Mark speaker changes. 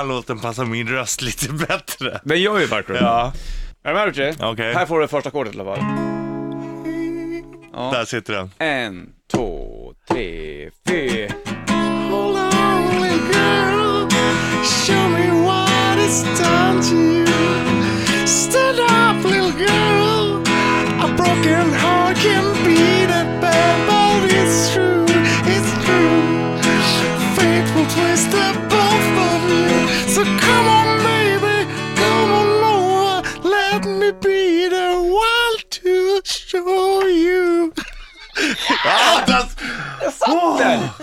Speaker 1: här låten passar min röst lite bättre.
Speaker 2: Den gör ju verkligen
Speaker 1: Ja,
Speaker 2: Är du med Richie?
Speaker 1: Okej.
Speaker 2: Här får du första ackordet i alla fall.
Speaker 1: där sitter den.
Speaker 2: En, två, tre, fyra.
Speaker 1: Ah, där-